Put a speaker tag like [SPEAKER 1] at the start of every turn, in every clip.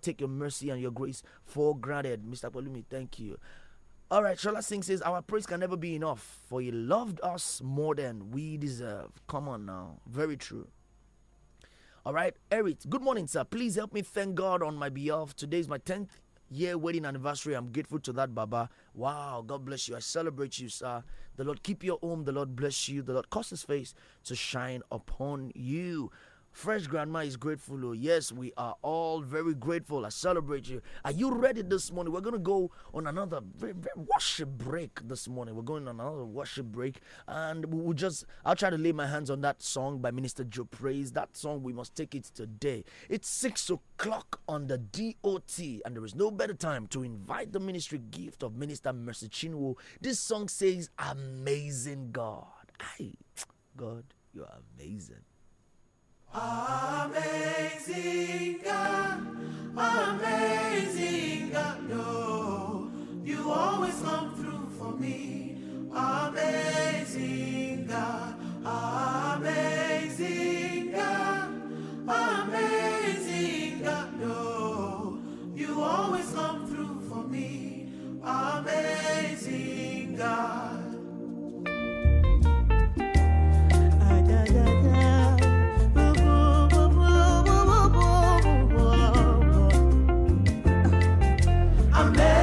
[SPEAKER 1] take your mercy and your grace for granted. Mr. Palumi, thank you. All right, Shola Singh says, Our praise can never be enough, for He loved us more than we deserve. Come on now. Very true. All right, Eric, good morning, sir. Please help me thank God on my behalf. Today is my 10th year wedding anniversary. I'm grateful to that, Baba. Wow, God bless you. I celebrate you, sir. The Lord keep your home. The Lord bless you. The Lord cause His face to shine upon you. Fresh Grandma is grateful. oh. Yes, we are all very grateful. I celebrate you. Are you ready this morning? We're going to go on another very, very worship break this morning. We're going on another worship break. And we will just, I'll try to lay my hands on that song by Minister Joe Praise. That song, we must take it today. It's 6 o'clock on the DOT. And there is no better time to invite the ministry gift of Minister Mercy Chinwo. This song says, Amazing God. Aye, God, you are amazing.
[SPEAKER 2] Amazing God, amazing God, no, you always come through for me. Amazing God, amazing God, amazing God, no, you always come through for me. Amazing God. Ah-da-da-da. Ooh, ooh, ooh, ooh, ooh, ooh, ooh, ooh, ooh. oh. oh oh.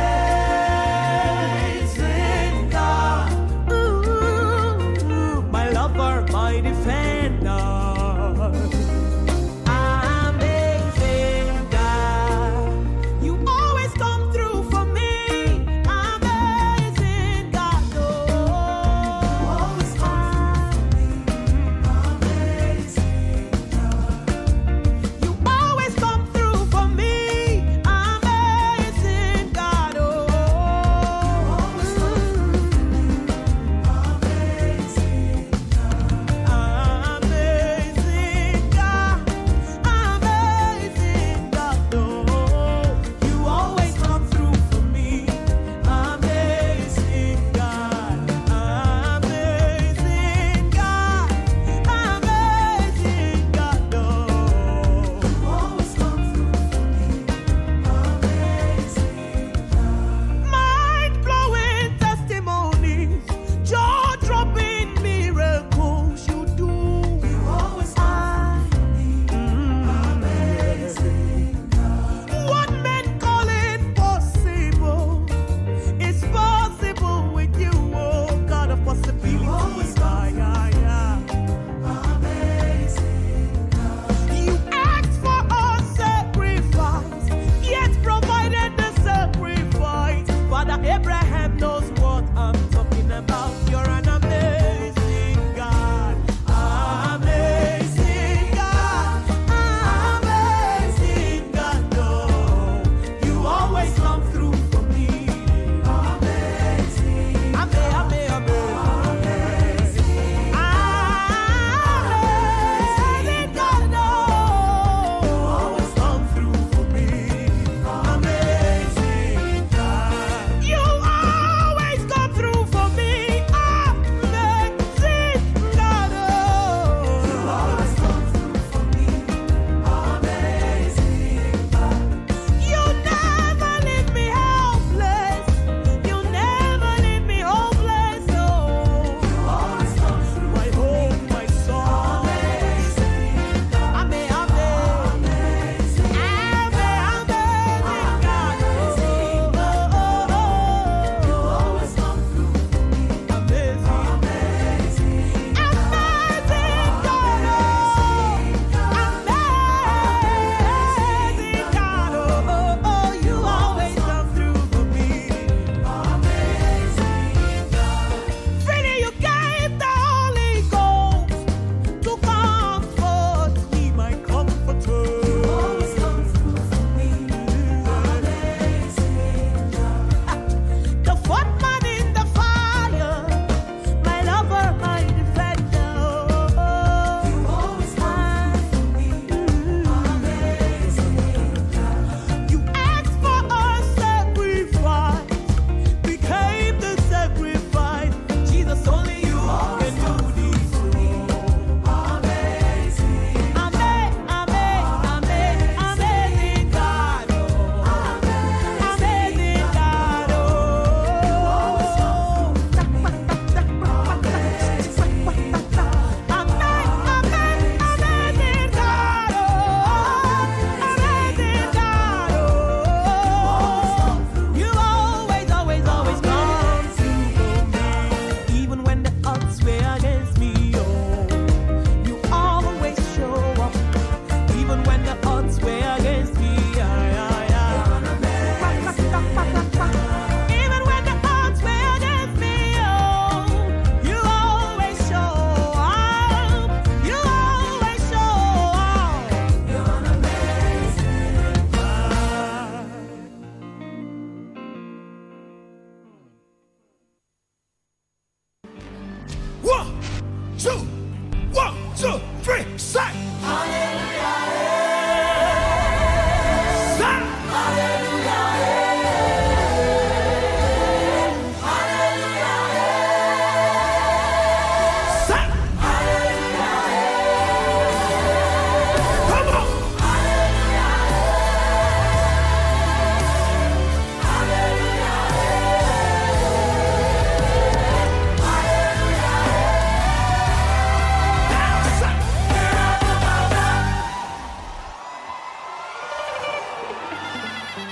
[SPEAKER 2] Oh, oh,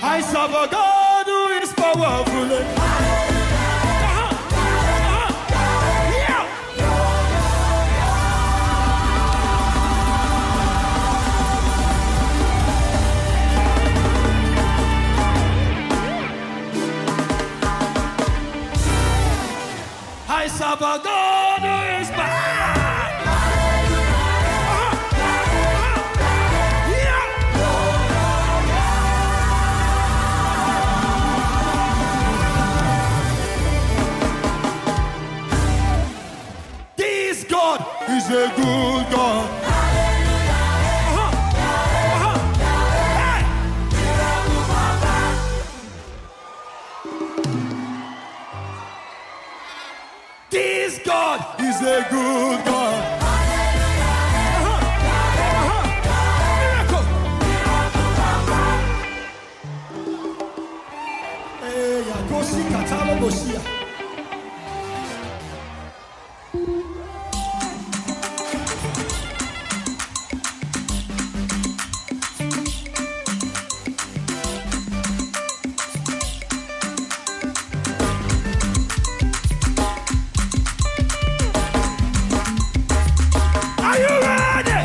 [SPEAKER 3] I serve a God who is powerful. Uh-huh. Uh-huh. Yeah. I serve a God who is powerful. Uh-huh. Uh-huh. Yeah. This God is a good God. Uh-huh. Uh-huh. Hey! This God is a good God. Uh-huh. Uh-huh. Miracle. Eh, ya, go see Katalo, go see ya. Are you ready?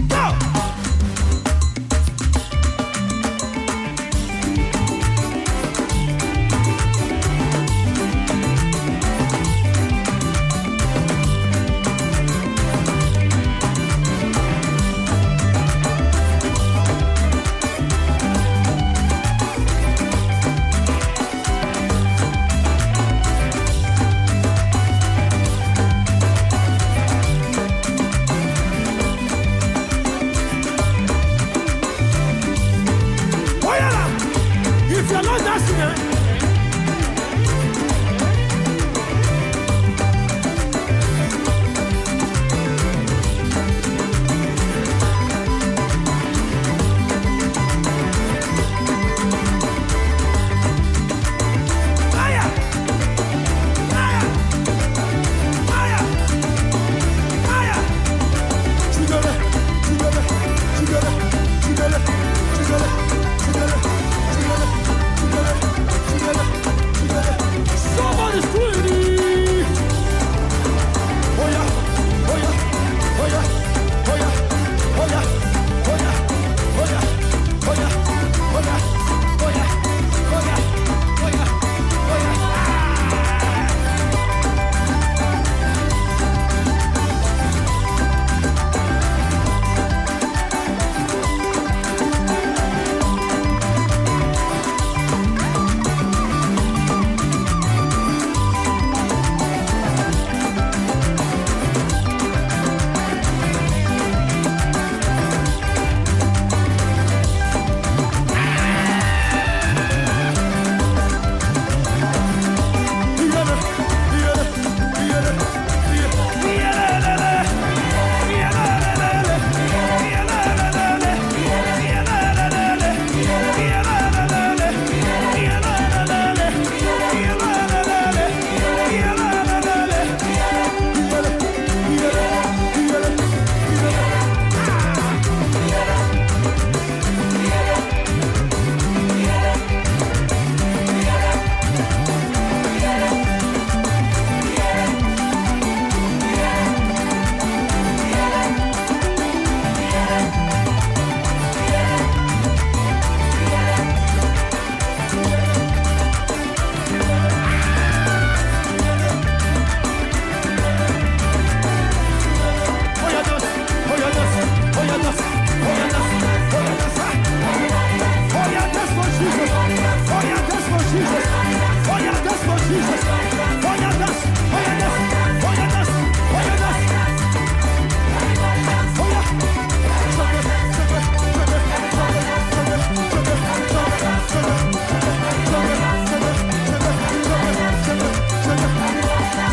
[SPEAKER 3] Go! Oh yeah! lah. If you're not dancing, eh? Fire! Fire! Fire! Fire! Together, together, together, together, together, together, together, together, together, together. Somebody's pretty. Oh yeah, oh yeah, oh yeah, oh yeah, oh yeah, oh yeah, oh yeah, oh yeah, oh yeah, oh yeah, oh yeah, oh yeah, oh yeah.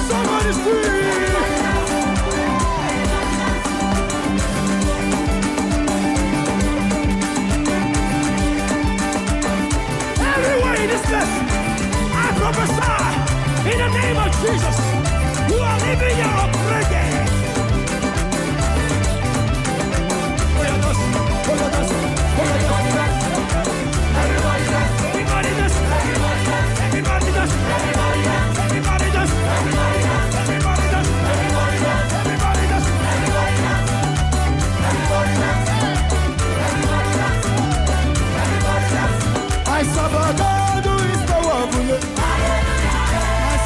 [SPEAKER 3] Somebody's free! everywhere in this place. I prophesy in the name of Jesus. You are living your upbringing. Oh, yeah, dance. Oh, yeah, dance. Oh, yeah, dance. Everybody dance. Everybody dance. Everybody dance. Everybody dance. Everybody dance. I Sabagado is powerful. I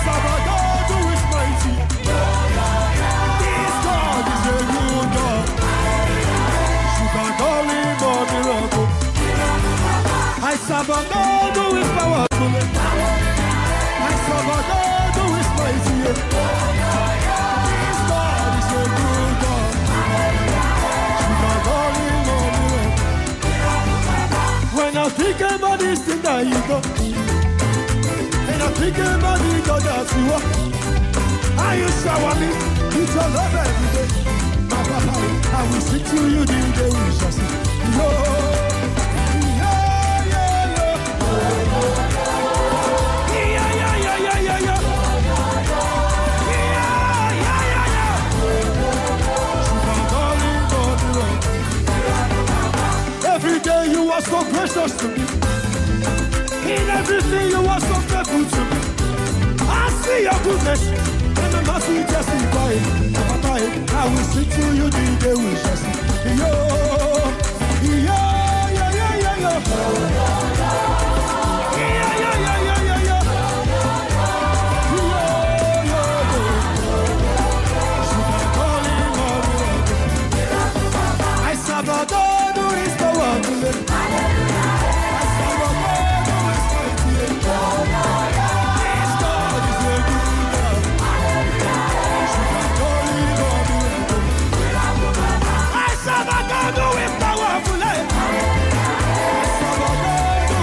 [SPEAKER 3] Sabagado is mighty. This God is a good God. You can call him a miracle. I Sabagado is powerful. I Sabagado is mighty. This God is a good God. You can call him a miracle. When I think about this thing that you got, and I think about the God that you are, how you shower me with your love every day. My papa, I will sing to you the day we shall see. Yo, yeah, yeah, yeah. Yeah, yeah, yeah, yeah, yeah, yeah. Yeah, yeah, yeah, yeah. You are darling, darling, darling. Every day you are so precious to me. In everything you are so faithful to me. I see your goodness. And I'm not to testify. it. Papa, I will see to you the day we shall see. Yo, yo, yo, yo, yo, yo. Yo, yo, yo, yo, yo, yo. Yo, yo, yo. You can call him all you want. I sabotado todo esto a tu lado. I sabotado todo esto a tu lado. Esto es el mundo. Su católico mundo. I sabotado todo esto a tu lado. I sabotado todo esto a tu lado.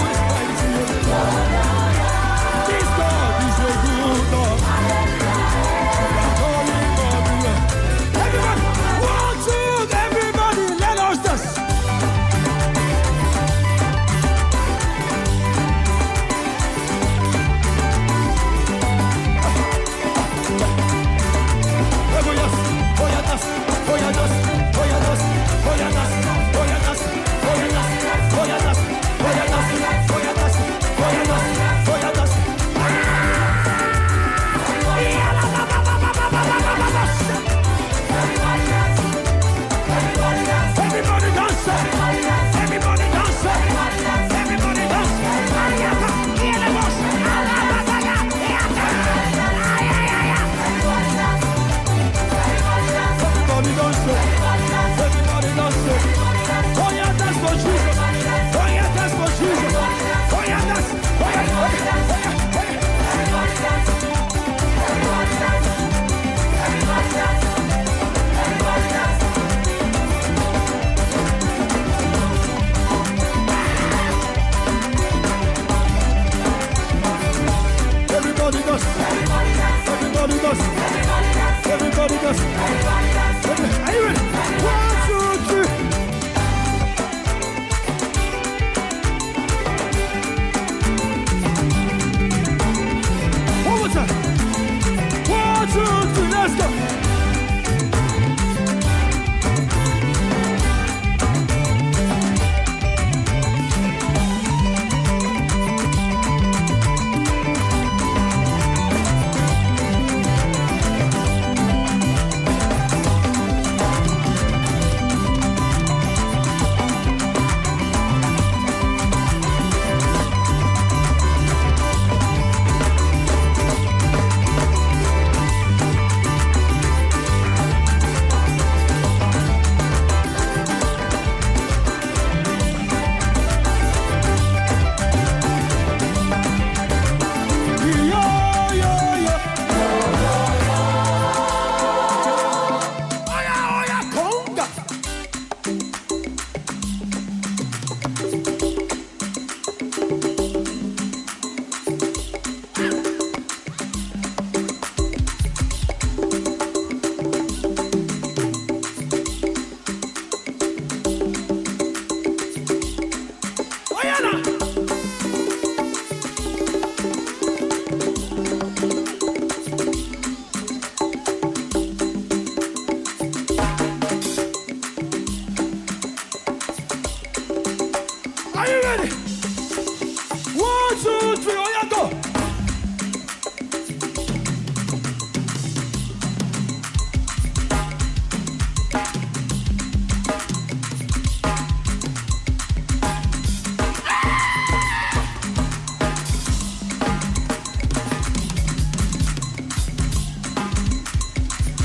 [SPEAKER 3] Esto es el mundo. Su católico mundo. Everybody, one, two, everybody, let us dance. Voy a voy a das, voy a das, voy a das, voy a das, voy a das, voy a das, voy a das, voy a das, voy a das, voy a das, voy a das. Everybody dance, everybody dance, everybody dance. Everybody dance, everybody dance. Oh yeah, that's for Jesus. Oh yeah, that's for Jesus. Oh yeah, that's. Oh yeah, oh yeah, oh yeah, oh yeah. Everybody does. Everybody does. Everybody does. Every- Are you ready? One, two, three. One more time. One, two, three. Let's go.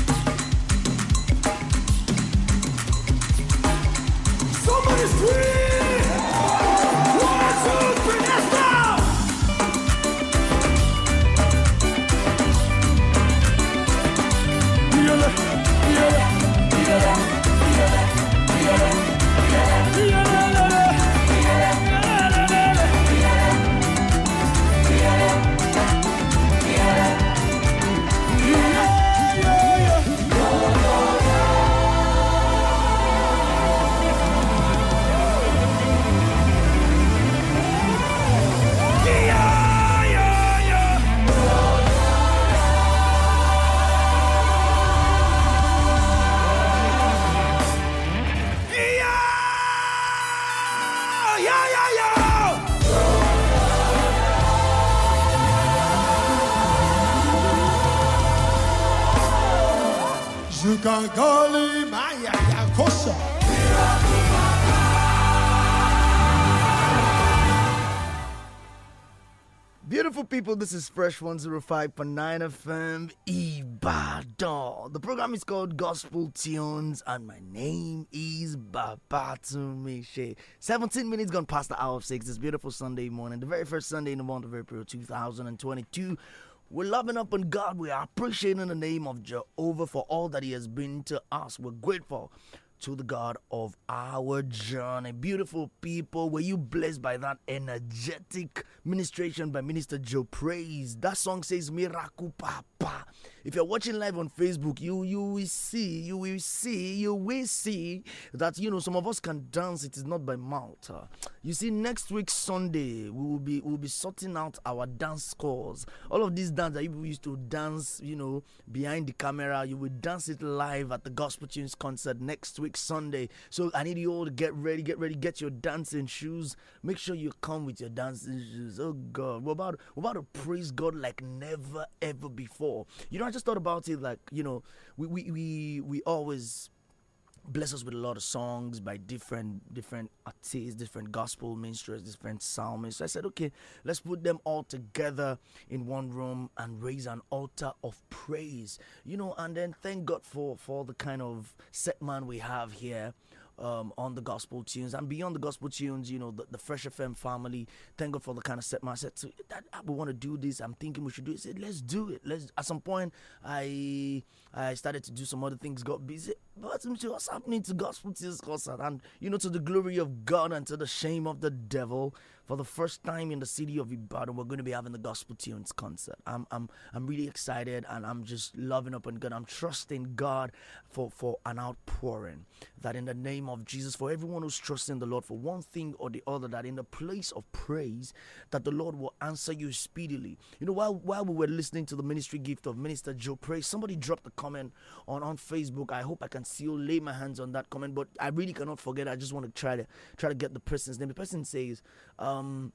[SPEAKER 3] oh, You can call him Ayaya Kosha.
[SPEAKER 1] Beautiful people, this is Fresh 105.9 FM Ibadan. The program is called Gospel Tunes, and my name is Babatumishe. 17 minutes gone past the hour of 6 this beautiful Sunday morning, the very first Sunday in the month of April 2022. We're loving up on God. We are appreciating the name of Jehovah for all that He has been to us. We're grateful to the God of our journey. Beautiful people, were you blessed by that energetic ministration by Minister Joe Praise? That song says Miracle Papa. If you're watching live on Facebook, you you will see, you will see, you will see that you know some of us can dance. It is not by mouth. Uh, You see, next week Sunday we will be we will be sorting out our dance scores. All of these dance that you used to dance, you know, behind the camera, you will dance it live at the Gospel Tunes concert next week Sunday. So I need you all to get ready, get ready, get your dancing shoes. Make sure you come with your dancing shoes. Oh God, we're about we're about to praise God like never ever before. You know, I just thought about it like you know, we we we, we always bless us with a lot of songs by different different artists, different gospel ministers, different psalmists. So I said, okay, let's put them all together in one room and raise an altar of praise. You know, and then thank God for for the kind of set man we have here um, on the gospel tunes and beyond the gospel tunes, you know, the, the Fresh FM family. Thank God for the kind of set man. I said, so that, ah, we want to do this. I'm thinking we should do it. I said, let's do it. Let's. At some point, I I started to do some other things. Got busy. But what's happening to gospel tunes concert? And you know, to the glory of God and to the shame of the devil, for the first time in the city of Ibadan, we're going to be having the gospel tunes concert. I'm I'm I'm really excited and I'm just loving up on God. I'm trusting God for for an outpouring that in the name of Jesus, for everyone who's trusting the Lord for one thing or the other, that in the place of praise, that the Lord will answer you speedily. You know, while while we were listening to the ministry gift of Minister Joe Praise, somebody dropped a comment on on Facebook. I hope I can still lay my hands on that comment, but I really cannot forget. I just want to try to try to get the person's name. The person says, um,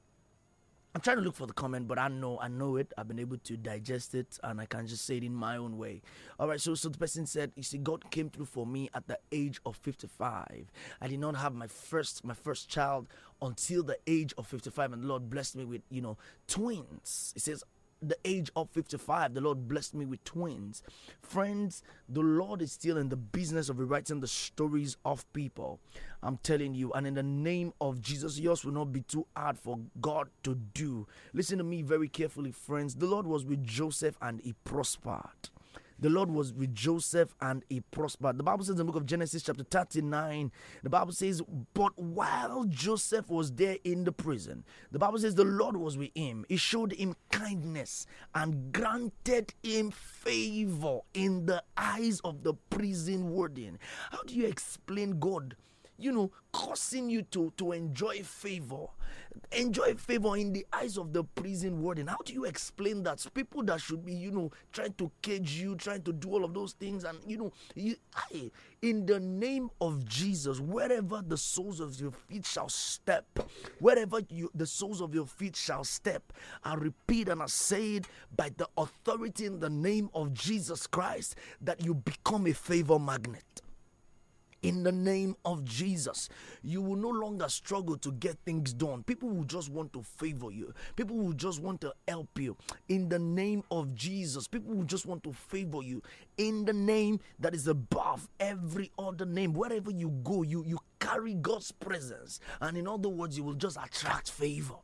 [SPEAKER 1] I'm trying to look for the comment, but I know I know it. I've been able to digest it, and I can just say it in my own way. All right. So, so the person said, "You see, God came through for me at the age of 55. I did not have my first my first child until the age of 55, and the Lord blessed me with you know twins." He says, the age of 55, the Lord blessed me with twins. Friends, the Lord is still in the business of rewriting the stories of people. I'm telling you, and in the name of Jesus, yours will not be too hard for God to do. Listen to me very carefully, friends. The Lord was with Joseph and he prospered. The Lord was with Joseph and he prospered. The Bible says in the book of Genesis, chapter 39, the Bible says, But while Joseph was there in the prison, the Bible says the Lord was with him. He showed him kindness and granted him favor in the eyes of the prison warden. How do you explain God? you know, causing you to, to enjoy favor. Enjoy favor in the eyes of the prison warden. How do you explain that? People that should be, you know, trying to cage you, trying to do all of those things. And, you know, you, I, in the name of Jesus, wherever the soles of your feet shall step, wherever you, the soles of your feet shall step, I repeat and I say it by the authority in the name of Jesus Christ that you become a favor magnet in the name of Jesus. You will no longer struggle to get things done. People will just want to favor you, people will just want to help you in the name of Jesus. People will just want to favor you in the name that is above every other name. Wherever you go, you, you carry God's presence, and in other words, you will just attract favor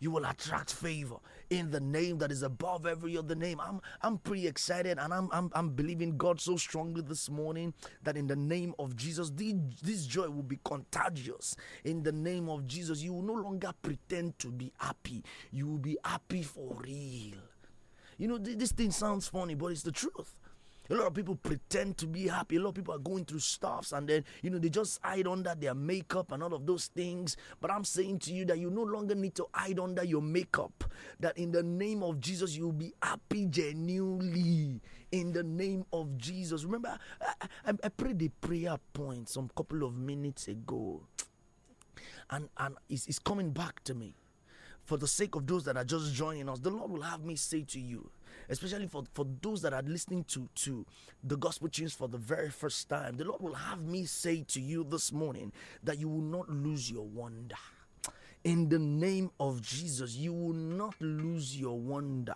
[SPEAKER 1] you will attract favor in the name that is above every other name. I'm I'm pretty excited and I'm I'm, I'm believing God so strongly this morning that in the name of Jesus, the, this joy will be contagious. In the name of Jesus, you will no longer pretend to be happy. You will be happy for real. You know, th- this thing sounds funny, but it's the truth. A lot of people pretend to be happy. A lot of people are going through stuffs and then, you know, they just hide under their makeup and all of those things. But I'm saying to you that you no longer need to hide under your makeup. That in the name of Jesus, you'll be happy genuinely. In the name of Jesus. Remember, I, I, I prayed a prayer point some couple of minutes ago. And, and it's, it's coming back to me for the sake of those that are just joining us, the Lord will have me say to you especially for, for those that are listening to, to the gospel tunes for the very first time, the Lord will have me say to you this morning that you will not lose your wonder. In the name of Jesus, you will not lose your wonder.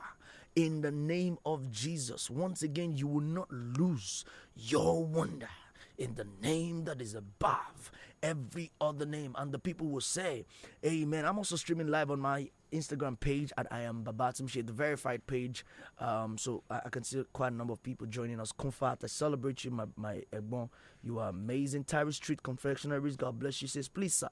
[SPEAKER 1] In the name of Jesus, once again, you will not lose your wonder. In the name that is above every other name. And the people will say, Amen. I'm also streaming live on my Instagram page at I am Babatumshe, the verified page. Um, so I, I can see quite a number of people joining us. Comfort, I celebrate you, my, my Egbon. You are amazing. Tyree Street Confectionaries, God bless you. Says, please, sir.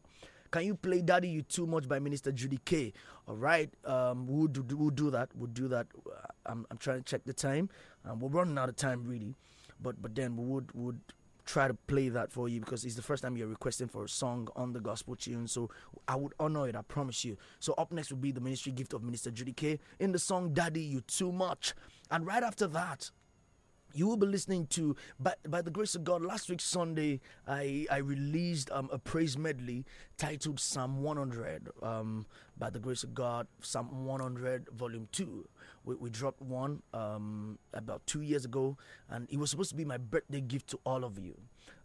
[SPEAKER 1] Can you play Daddy You Too Much by Minister Judy K? All right, um, we'll, do, we'll do that. We'll do that. Uh, I'm, I'm trying to check the time. Um, we're running out of time, really. But but then we would, would try to play that for you because it's the first time you're requesting for a song on the gospel tune. So I would honor it, I promise you. So up next will be the ministry gift of Minister Judy K in the song Daddy You Too Much. And right after that, you will be listening to by, by the grace of god last week sunday i i released um, a praise medley titled psalm 100 um, by the grace of god psalm 100 volume 2 we, we dropped one um, about two years ago and it was supposed to be my birthday gift to all of you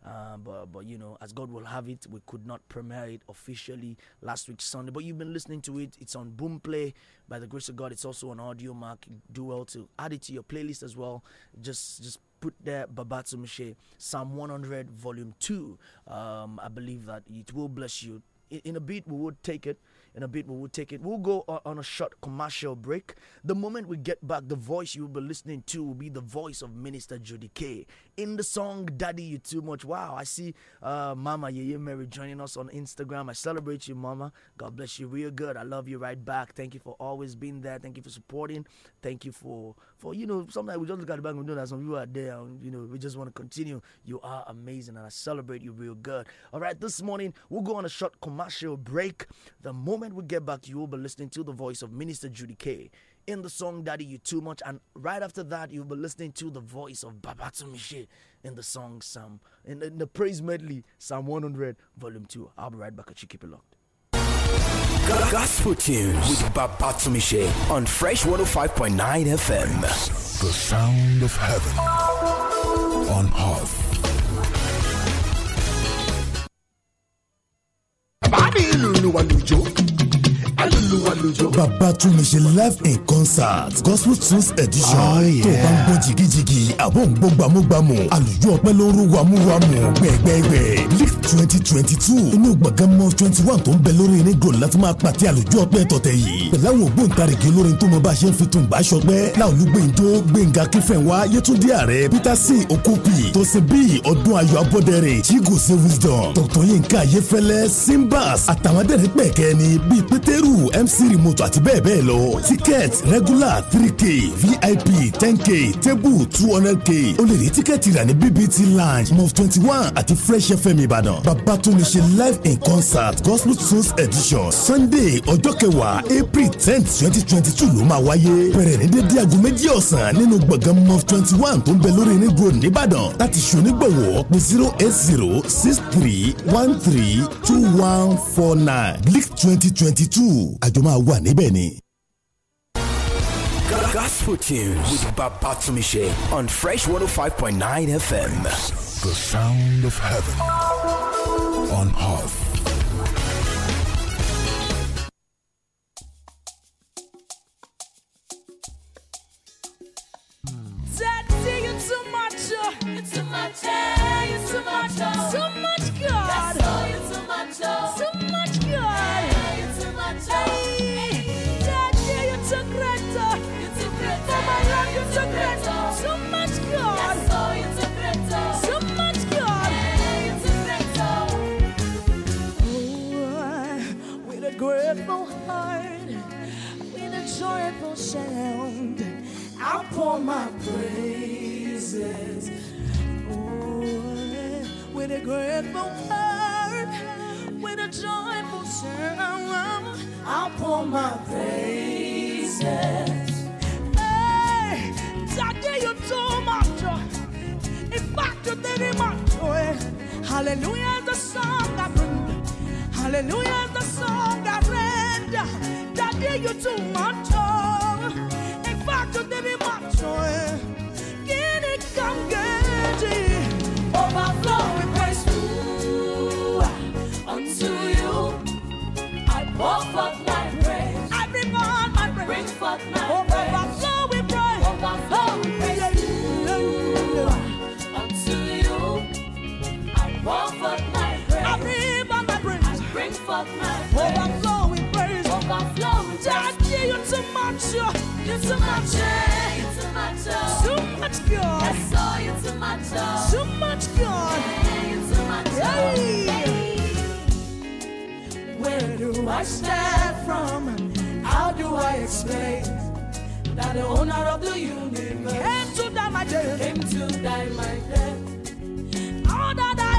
[SPEAKER 1] uh, but but you know as god will have it we could not premiere it officially last week sunday but you've been listening to it it's on boom play by the grace of god it's also on audio mark You do well to add it to your playlist as well just just put there babatsu Mishe, psalm 100 volume 2 um, i believe that it will bless you in, in a bit we would take it in a bit we will take it we'll go on, on a short commercial break the moment we get back the voice you'll be listening to will be the voice of minister judy k in the song daddy you too much wow i see uh, mama yeye mary joining us on instagram i celebrate you mama god bless you real good i love you right back thank you for always being there thank you for supporting thank you for for you know sometimes we just look at the back and know that some people are there and you know we just want to continue you are amazing and i celebrate you real good all right this morning we'll go on a short commercial break the moment moment we get back, you will be listening to the voice of Minister Judy K in the song Daddy You Too Much. And right after that, you'll be listening to the voice of Babatu Miche in the song Psalm, in, in the praise medley, Psalm 100, Volume 2. I'll be right back at you. Keep it locked.
[SPEAKER 4] Gospel Tunes with Babatumishe on Fresh 105.9 FM.
[SPEAKER 5] The sound of heaven on earth.
[SPEAKER 6] bàbí ìlúluwàlùjọ ìlúluwàlùjọ.
[SPEAKER 5] Babatunde ṣe live in concert gospel tunes edition tó bá ń gbọ́ jigijigi àbọ̀ ń gbọ́ gbàmúgbàmù àlùjọ ọpẹ́ ló ń rú wàmúwàmù gbẹ̀gbẹ̀gbẹ̀ leaf twenty twenty two inú gbọ̀ngàn mọ́ twenty one tó ń bẹ lórí iné gòlù láti máa pàtẹ àlùjọ ọpẹ́ tọ̀tẹ̀ yìí pẹ̀lú àwọn ògbóǹtarìgì olórin tó mọ bá a ṣe ń fi tùǹgbà ṣọpẹ́ láòlú gbẹ̀ǹdó gbẹ̀ǹgà kífẹ̀wá yétúndí ààrẹ peter c okopi tó ṣe bí ọdún ayọ̀ abọ́dẹrẹ̀ chigoze wisdom dr yinka ayefẹlẹ simbas àtàwọn adẹ́rẹ́ pẹ̀kẹ́ ni bíi pétérù mc remote àti bẹ́ẹ̀ bẹ́ẹ̀ lọ. ticket regular three k vip ten k table two hundred k o lè rí tíkẹ́ẹ̀tì rà ní bbt lounge mof twenty one àti fresh fm ìbàdàn. babatunde ṣe live in concert gospel tunes edition sunday ọjọ́ kẹwàá april tenth twenty twenty two ló máa wáyé. bẹ̀rẹ̀ ní dédé aago méjì ọ̀sán nínú gbọ̀ngàn mof twenty one tó ń bẹ lórí ní road nìbàdàn láti ṣonígbọ̀wọ́ pé zero eight zero six three one three two one four nine bleak twenty twenty two àjọ máa wà níbẹ̀ ni.
[SPEAKER 4] Gospel Tunes with Babatumishe on Fresh 105.9 FM.
[SPEAKER 5] The sound of heaven on earth.
[SPEAKER 2] Daddy, you too much. oh.
[SPEAKER 7] Too much, eh? You're too much, oh.
[SPEAKER 2] Too much God.
[SPEAKER 7] Oh, you're too much, oh.
[SPEAKER 2] Too much God.
[SPEAKER 7] Oh, you're too much, oh.
[SPEAKER 2] Daddy, you're too great. oh.
[SPEAKER 7] You're too great,
[SPEAKER 2] For my
[SPEAKER 7] eh?
[SPEAKER 2] life, you're too great. Too much God.
[SPEAKER 7] Oh, you're too great, oh.
[SPEAKER 2] Too much God.
[SPEAKER 7] Eh, You're too great, oh.
[SPEAKER 2] Oh, with a grateful heart, with a joyful sound, I pour my praises. Oh, with a grateful heart, with a joyful sound, I pour my praises. Hey, Daddy, you do my joy. In fact, you did it my joy. Hallelujah is the song I bring. Hallelujah is the song I render. Daddy, you do my joy. In fact, impacto de mi macho eh. Tiene cambio
[SPEAKER 7] Overflow with praise to- unto you. I pour forth my praise.
[SPEAKER 2] I bring on my
[SPEAKER 7] Bring
[SPEAKER 2] praise
[SPEAKER 7] forth my praise.
[SPEAKER 2] Overflow with praise
[SPEAKER 7] Overflow with praise to- unto you. I pour forth my
[SPEAKER 2] I
[SPEAKER 7] praise.
[SPEAKER 2] bring on my praise
[SPEAKER 7] Bring forth my praise.
[SPEAKER 2] Overflow with praise
[SPEAKER 7] Overflow with praise.
[SPEAKER 2] Daddy, you're too much yo. You're too much eh.
[SPEAKER 7] You're too much, oh.
[SPEAKER 2] Too much God
[SPEAKER 7] Yes, oh, you're too much, oh.
[SPEAKER 2] Too much God
[SPEAKER 7] Hey, you're too much, oh.
[SPEAKER 2] Hey.
[SPEAKER 7] Hey.
[SPEAKER 2] Where do I stand from? How do I explain that the owner of the universe came to die my death? Came to die my death. All that I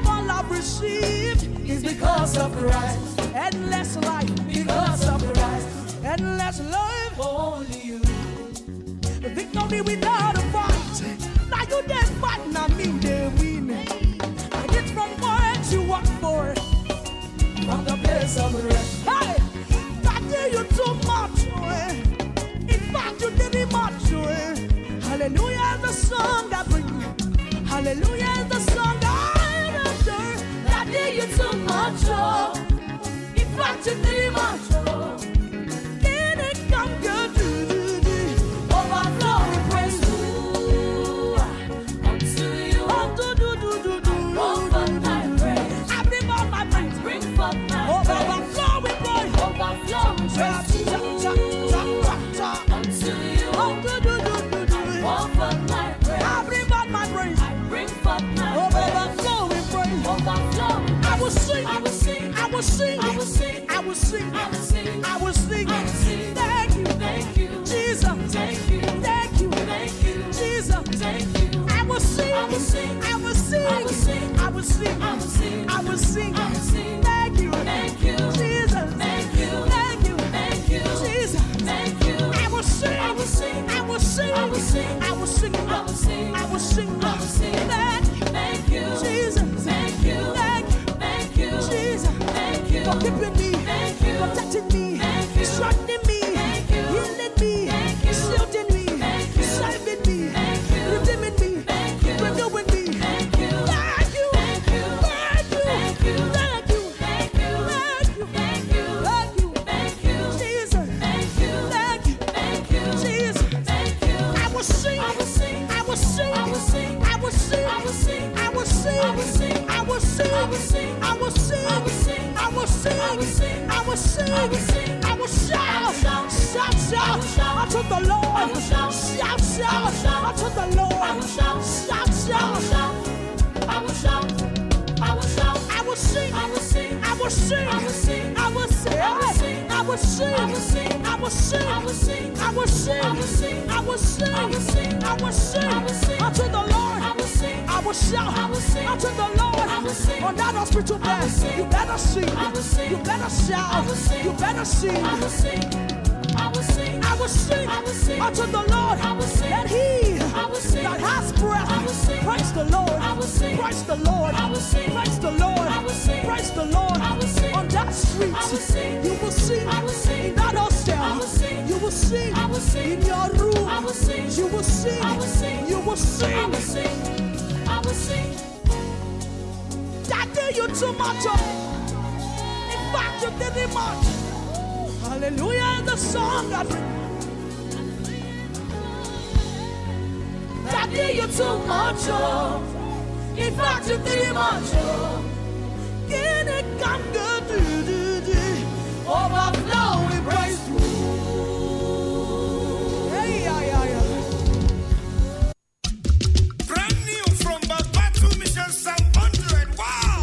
[SPEAKER 2] ever love received is because of Christ. Endless life because of Christ. Endless love only you. Victory without a fight. Now you did fight, now me they win. I get from what you work for from the place of rest. Hey, I did you too much, eh? In fact, you did it much, eh? Hallelujah is the song I bring. Hallelujah is the song I adore. I did you too much, oh. In fact, you did it much, oh. Can it come good? Oh, Do, do, do. Overflow with praise.
[SPEAKER 7] Ooh, unto you.
[SPEAKER 2] Oh, do, do, do, do, do.
[SPEAKER 7] Pour forth my praise.
[SPEAKER 2] I bring all my friends.
[SPEAKER 7] Bring forth my praise.
[SPEAKER 2] Overflow with praise.
[SPEAKER 7] Overflow with
[SPEAKER 2] Chop,
[SPEAKER 7] praise
[SPEAKER 2] chop, chop,
[SPEAKER 7] to-
[SPEAKER 2] chop, chop, chop.
[SPEAKER 7] unto you.
[SPEAKER 2] Oh, do, do, do, do, do.
[SPEAKER 7] Pour forth my praise.
[SPEAKER 2] I bring back my praise.
[SPEAKER 7] I bring forth my praise.
[SPEAKER 2] Overflow with praise.
[SPEAKER 7] Overflow with
[SPEAKER 2] I will sing.
[SPEAKER 7] I will sing.
[SPEAKER 2] I will sing.
[SPEAKER 7] I will sing.
[SPEAKER 2] I will sing.
[SPEAKER 7] I will sing.
[SPEAKER 2] I will sing.
[SPEAKER 7] I will sing.
[SPEAKER 2] Thank you.
[SPEAKER 7] Thank you.
[SPEAKER 2] Jesus.
[SPEAKER 7] Thank you.
[SPEAKER 2] Thank you.
[SPEAKER 7] Thank you.
[SPEAKER 2] Jesus.
[SPEAKER 7] Thank you.
[SPEAKER 2] I will sing.
[SPEAKER 7] I will sing.
[SPEAKER 2] I will sing.
[SPEAKER 7] I will sing.
[SPEAKER 2] I will sing.
[SPEAKER 7] I will sing.
[SPEAKER 2] I will sing.
[SPEAKER 7] I will sing.
[SPEAKER 2] Thank you.
[SPEAKER 7] Thank you.
[SPEAKER 2] Jesus.
[SPEAKER 7] Thank you.
[SPEAKER 2] Thank you.
[SPEAKER 7] Thank you.
[SPEAKER 2] Jesus.
[SPEAKER 7] Thank you.
[SPEAKER 2] I will sing.
[SPEAKER 7] I will sing.
[SPEAKER 2] I will sing.
[SPEAKER 7] I will sing.
[SPEAKER 2] I will sing.
[SPEAKER 7] I will sing.
[SPEAKER 2] I will sing.
[SPEAKER 7] I will sing.
[SPEAKER 2] Thank you.
[SPEAKER 7] Thank you.
[SPEAKER 2] Jesus.
[SPEAKER 7] Thank you.
[SPEAKER 2] Thank you.
[SPEAKER 7] Thank you.
[SPEAKER 2] Jesus.
[SPEAKER 7] Thank you.
[SPEAKER 2] For keeping me.
[SPEAKER 7] Thank you.
[SPEAKER 2] Protecting me.
[SPEAKER 7] Thank you.
[SPEAKER 2] Strengthening me.
[SPEAKER 7] Thank you.
[SPEAKER 2] Healing me.
[SPEAKER 7] Thank you.
[SPEAKER 2] Shielding me.
[SPEAKER 7] Thank you.
[SPEAKER 2] Saving me.
[SPEAKER 7] Thank you.
[SPEAKER 2] Redeeming me.
[SPEAKER 7] Thank you.
[SPEAKER 2] Renewing me.
[SPEAKER 7] Thank you.
[SPEAKER 2] Thank you.
[SPEAKER 7] Thank you.
[SPEAKER 2] Thank you.
[SPEAKER 7] Thank you.
[SPEAKER 2] Thank you.
[SPEAKER 7] Thank
[SPEAKER 2] Thank
[SPEAKER 7] you.
[SPEAKER 2] you.
[SPEAKER 7] Thank
[SPEAKER 2] Thank you.
[SPEAKER 7] you. Thank you.
[SPEAKER 2] Jesus.
[SPEAKER 7] Thank you.
[SPEAKER 2] Thank you.
[SPEAKER 7] Thank you.
[SPEAKER 2] Jesus.
[SPEAKER 7] Thank you.
[SPEAKER 2] I will sing. I will sing. I will sing. I will sing. I will sing. I will sing. I will sing. I will sing. I will sing. I will sing. I will sing. I will sing. I will sing. I will sing. I will sing. I will sing. I will shout. Shout, shout. Unto the Lord. I will shout. Shout, shout. Unto the Lord. I will shout. Shout, shout.
[SPEAKER 7] I will shout. I will shout.
[SPEAKER 2] I will sing. I will sing. I will sing. I will sing. I will sing. I will sing. I will sing. I will sing. I will sing. I will sing. I will sing. I will sing. I will sing. I will sing. I will sing. Unto the Lord. I will sing. I will shout. I will sing. Unto the Lord. I will sing. On that hospital bed, you better sing. I will sing. You better shout. I will sing. You better sing.
[SPEAKER 7] I will sing. I will sing.
[SPEAKER 2] I will sing
[SPEAKER 7] I will sing.
[SPEAKER 2] unto the Lord.
[SPEAKER 7] I will sing.
[SPEAKER 2] Let he
[SPEAKER 7] I will sing.
[SPEAKER 2] that has breath
[SPEAKER 7] I will sing.
[SPEAKER 2] praise the Lord.
[SPEAKER 7] I will sing.
[SPEAKER 2] Praise the Lord.
[SPEAKER 7] I will sing.
[SPEAKER 2] Praise the Lord.
[SPEAKER 7] I will sing.
[SPEAKER 2] Praise the Lord.
[SPEAKER 7] I will sing.
[SPEAKER 2] On that street,
[SPEAKER 7] I will sing.
[SPEAKER 2] you will sing.
[SPEAKER 7] I will sing.
[SPEAKER 2] In that hostel,
[SPEAKER 7] I will sing.
[SPEAKER 2] you will sing.
[SPEAKER 7] I will sing.
[SPEAKER 2] In your room,
[SPEAKER 7] I will sing.
[SPEAKER 2] you will sing.
[SPEAKER 7] I will sing.
[SPEAKER 2] You will
[SPEAKER 7] I
[SPEAKER 2] sing.
[SPEAKER 7] will sing. I will sing.
[SPEAKER 2] Daddy, you too much. Of. In fact, you did it much. Hallelujah is the song I bring. Daddy, you too much. Of. In fact, you did it much. Of. Can it come good? Do, do, do. Overflow with praise. Hey, yeah, yeah, yeah.
[SPEAKER 3] Brand new from Babatu Michel 700. Wow!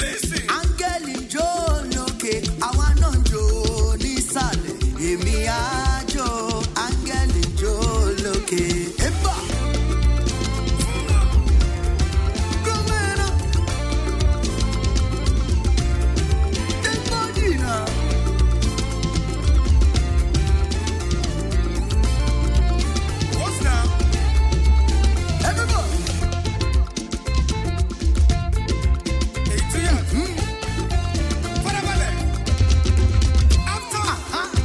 [SPEAKER 3] Listen.
[SPEAKER 8] áńgẹ́lì ń jó lókè àwa náà ń jó nísàlẹ̀ èmi á jó áńgẹ́lì ń jó lókè. Ébà! Gómìnà!
[SPEAKER 9] eh." Ah, Ah, eh.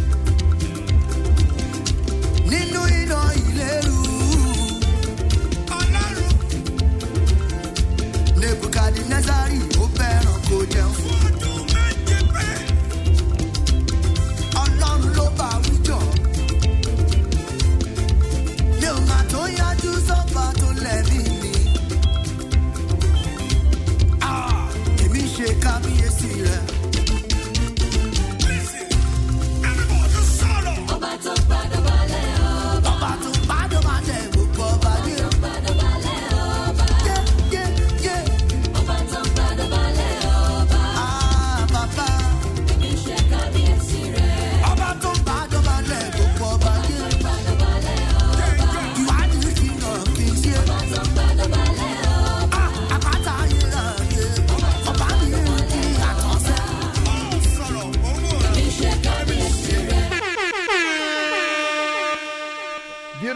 [SPEAKER 9] uh-huh. Ah, ah, Uh, Oh, Oh, Oh, Ah,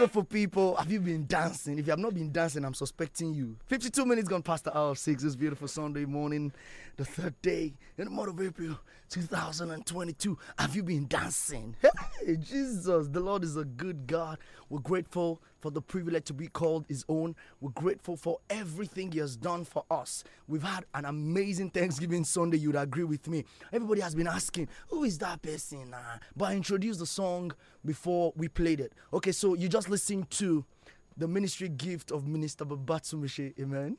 [SPEAKER 1] Wonderful people, have you been dancing? If you have not been dancing, I'm suspecting you. 52 minutes gone past the hour of six this beautiful Sunday morning, the third day in the month of April 2022. Have you been dancing? Hey, Jesus, the Lord is a good God. We're grateful for the privilege to be called His own. We're grateful for everything He has done for us. We've had an amazing Thanksgiving Sunday. You'd agree with me. Everybody has been asking, who is that person? Ah, but I introduced the song before we played it. Okay, so you just listened to the ministry gift of Minister Babatsumishe. Amen.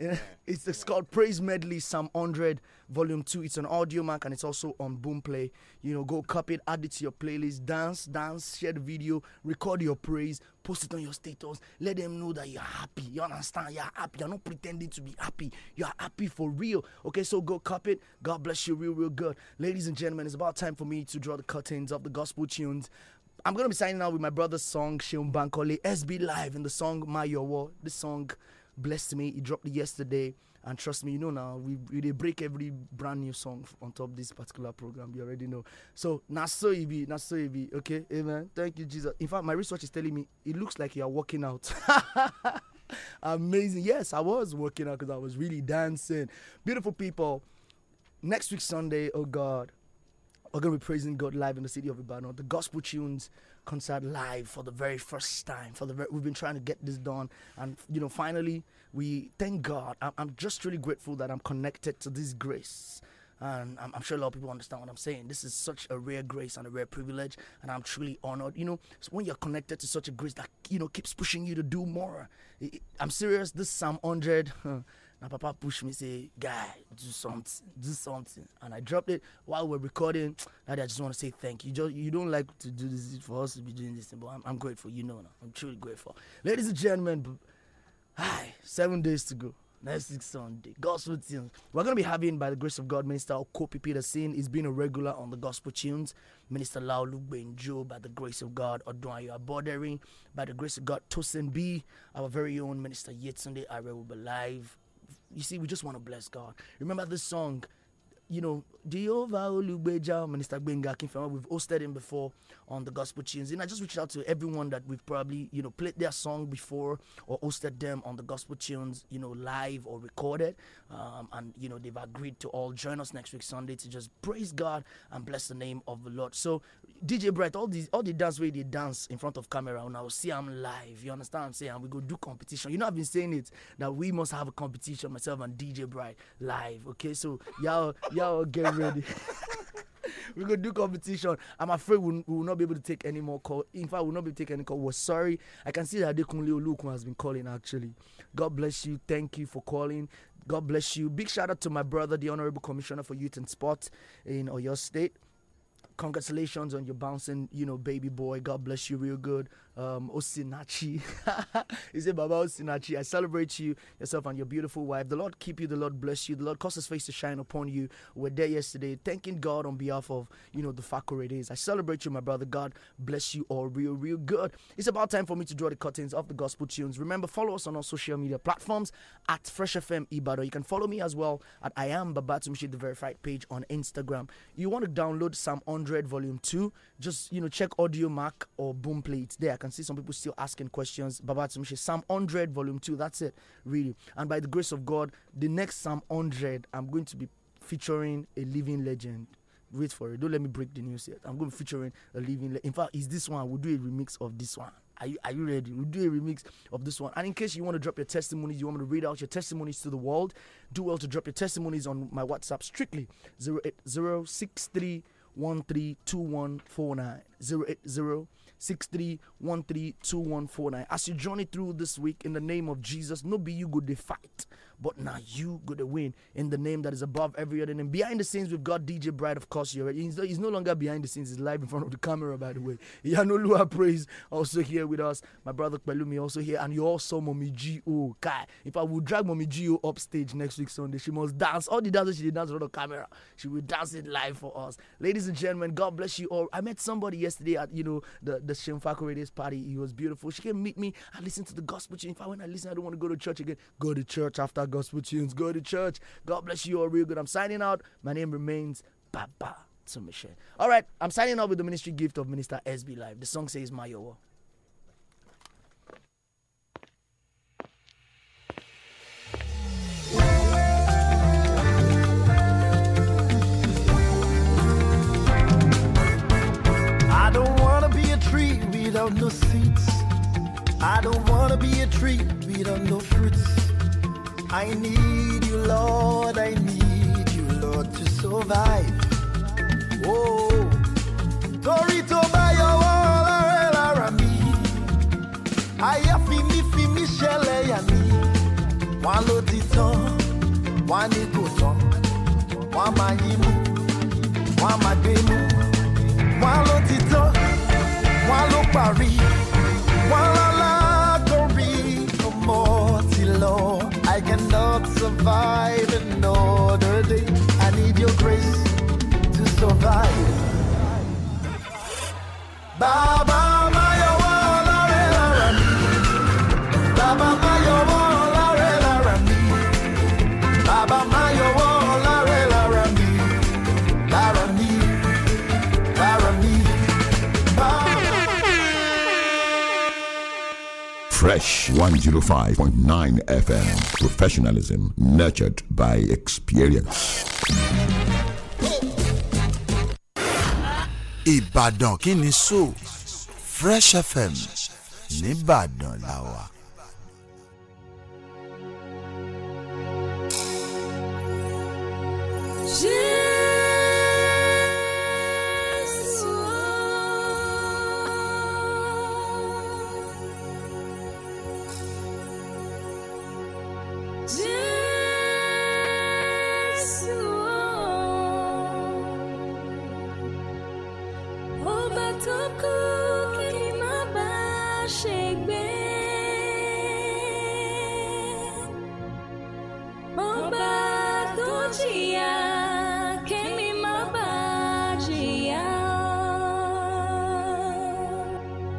[SPEAKER 1] It's, it's called Praise Medley Psalm 100 Volume 2. It's on audio mark and it's also on Boomplay. You know, go copy it, add it to your playlist, dance, dance, share the video, record your praise, post it on your status. Let them know that you're happy. You understand? You're happy. You're not pretending to be happy. You're happy for real. Okay, so go copy it. God bless you, real, real good. Ladies and gentlemen, it's about time for me to draw the curtains of the gospel tunes. I'm gonna be signing out with my brother's song Shion Bankole SB Live and the song My Your War. This song blessed me. It dropped yesterday, and trust me, you know now we we dey break every brand new song f- on top this particular program. You already know. So na so it be, na so it be. Okay, amen. Thank you, Jesus. In fact, my research is telling me it looks like you are working out. Amazing. Yes, I was working out because I was really dancing. Beautiful people. Next week Sunday, oh God, we're going to be praising God live in the city of Ibadan. The Gospel Tunes concert live for the very first time. For the ver- we've been trying to get this done, and you know, finally, we thank God. I'm, I'm just really grateful that I'm connected to this grace. And I'm, I'm sure a lot of people understand what I'm saying. This is such a rare grace and a rare privilege, and I'm truly honored. You know, so when you're connected to such a grace that you know keeps pushing you to do more. It- it- I'm serious. This Psalm 100. Now, Papa pushed me, say, Guy, do something, do something. And I dropped it while we're recording. Daddy, I just want to say thank you. Just, you don't like to do this for us to be doing this, thing, but I'm, I'm grateful. You know, now. I'm truly grateful. Ladies and gentlemen, b- hi, seven days to go. Next week Sunday, gospel tunes. We're gonna be having, by the grace of God, Minister Okopi Peterson. He's been a regular on the gospel tunes. Minister Laulu Benjo, by the grace of God, Odunwayo Abodering, by the grace of God, Tosin B. Our very own Minister Yetunde Are will be live you see, we just want to bless God. Remember this song, you know, Jehovah Olugbeja, Minister Benga Akinfenwa, we've hosted him before on the Gospel Tunes. And I just reached out to everyone that we've probably, you know, played their song before or hosted them on the Gospel Tunes, you know, live or recorded. Um, and, you know, they've agreed to all join us next week, Sunday, to just praise God and bless the name of the Lord. So, DJ Bright, all these, all the dance way they dance in front of camera, and I'll see I'm live. You understand what I'm saying? And we go do competition. You know, I've been saying it that we must have a competition, myself and DJ Bright live. Okay, so y'all, y'all get ready. we go do competition. I'm afraid we, we will not be able to take any more call. In fact, we will not be taking any call. We're sorry. I can see that Adekunle Olukun has been calling actually. God bless you. Thank you for calling. God bless you. Big shout out to my brother, the Honorable Commissioner for Youth and Sports in Oyo State congratulations on your bouncing, you know, baby boy. God bless you real good. Um, Osinachi. he said, Baba Osinachi, I celebrate you, yourself, and your beautiful wife. The Lord keep you. The Lord bless you. The Lord cause his face to shine upon you. We're there yesterday, thanking God on behalf of, you know, the Fakore it is. I celebrate you, my brother. God bless you all real, real good. It's about time for me to draw the curtains of the gospel tunes. Remember, follow us on our social media platforms at Fresh FM Ibadan. You can follow me as well at I am Babatumshi, the verified page on Instagram. You want to download Psalm 100 Volume 2, just, you know, check Audio Mac or Boom Play. It's there. I can see some people still asking questions. Babatumshi, Psalm 100 Volume 2. That's it, really. And by the grace of God, the next Psalm 100, I'm going to be featuring a living legend. Wait for it. Don't let me break the news yet. I'm going to be featuring a living. Le- in fact, is this one? We'll do a remix of this one. Are you, are you ready? We'll do a remix of this one. And in case you want to drop your testimonies, you want me to read out your testimonies to the world, do well to drop your testimonies on my WhatsApp strictly 08063 132149 08063132149 as you journey through this week in the name of jesus no be you good to fight but now you good to win in the name that is above every other name behind the scenes we've got dj bright of course you already he's, he's no longer behind the scenes he's live in front of the camera by the way yanolua praise also here with us my brother Pelumi also here and you also mommy go kai if i will drag mommy go upstage next week sunday she must dance all the dances she did dance on the camera she will dance it live for us ladies and gentlemen god bless you all i met somebody yesterday at you know the the Shemfako Radius party he was beautiful she came meet me i listened to the gospel tune if i when i listen i don't want to go to church again go to church after gospel tunes go to church god bless you all real good i'm signing out my name remains baba to all right i'm signing out with the ministry gift of minister sb live the song says mayowa
[SPEAKER 9] without no seats. I don't wanna be a tree without no fruits. I need you, Lord. I need you, Lord, to survive. Oh, Tori to buy your wall, ara mi. Aya fi mi fi mi ṣẹlẹ̀ yà mí. Wọ́n ló ti tán, wọ́n ní kò tán. Wọ́n máa yí mú, wọ́n máa gbé mú. Wọ́n ló ti tán, wọ́n ló parí. Wọ́n lálágọ̀rí ọmọ ti lọ. I cannot survive another day. I need your grace to survive. Baba Maya Wala Rela Rami. Baba Maya Wala Rela Rami. Baba Maya Wala Rela Rami. Lara me. Lara me.
[SPEAKER 10] Fresh 105.9 FM. Professionalism nurtured by experience.
[SPEAKER 11] Ìbàdàn kí ni so Fresh FM nìbàdàn la wà.
[SPEAKER 7] oh, Ọba tó kú kí má bàa ṣègbé.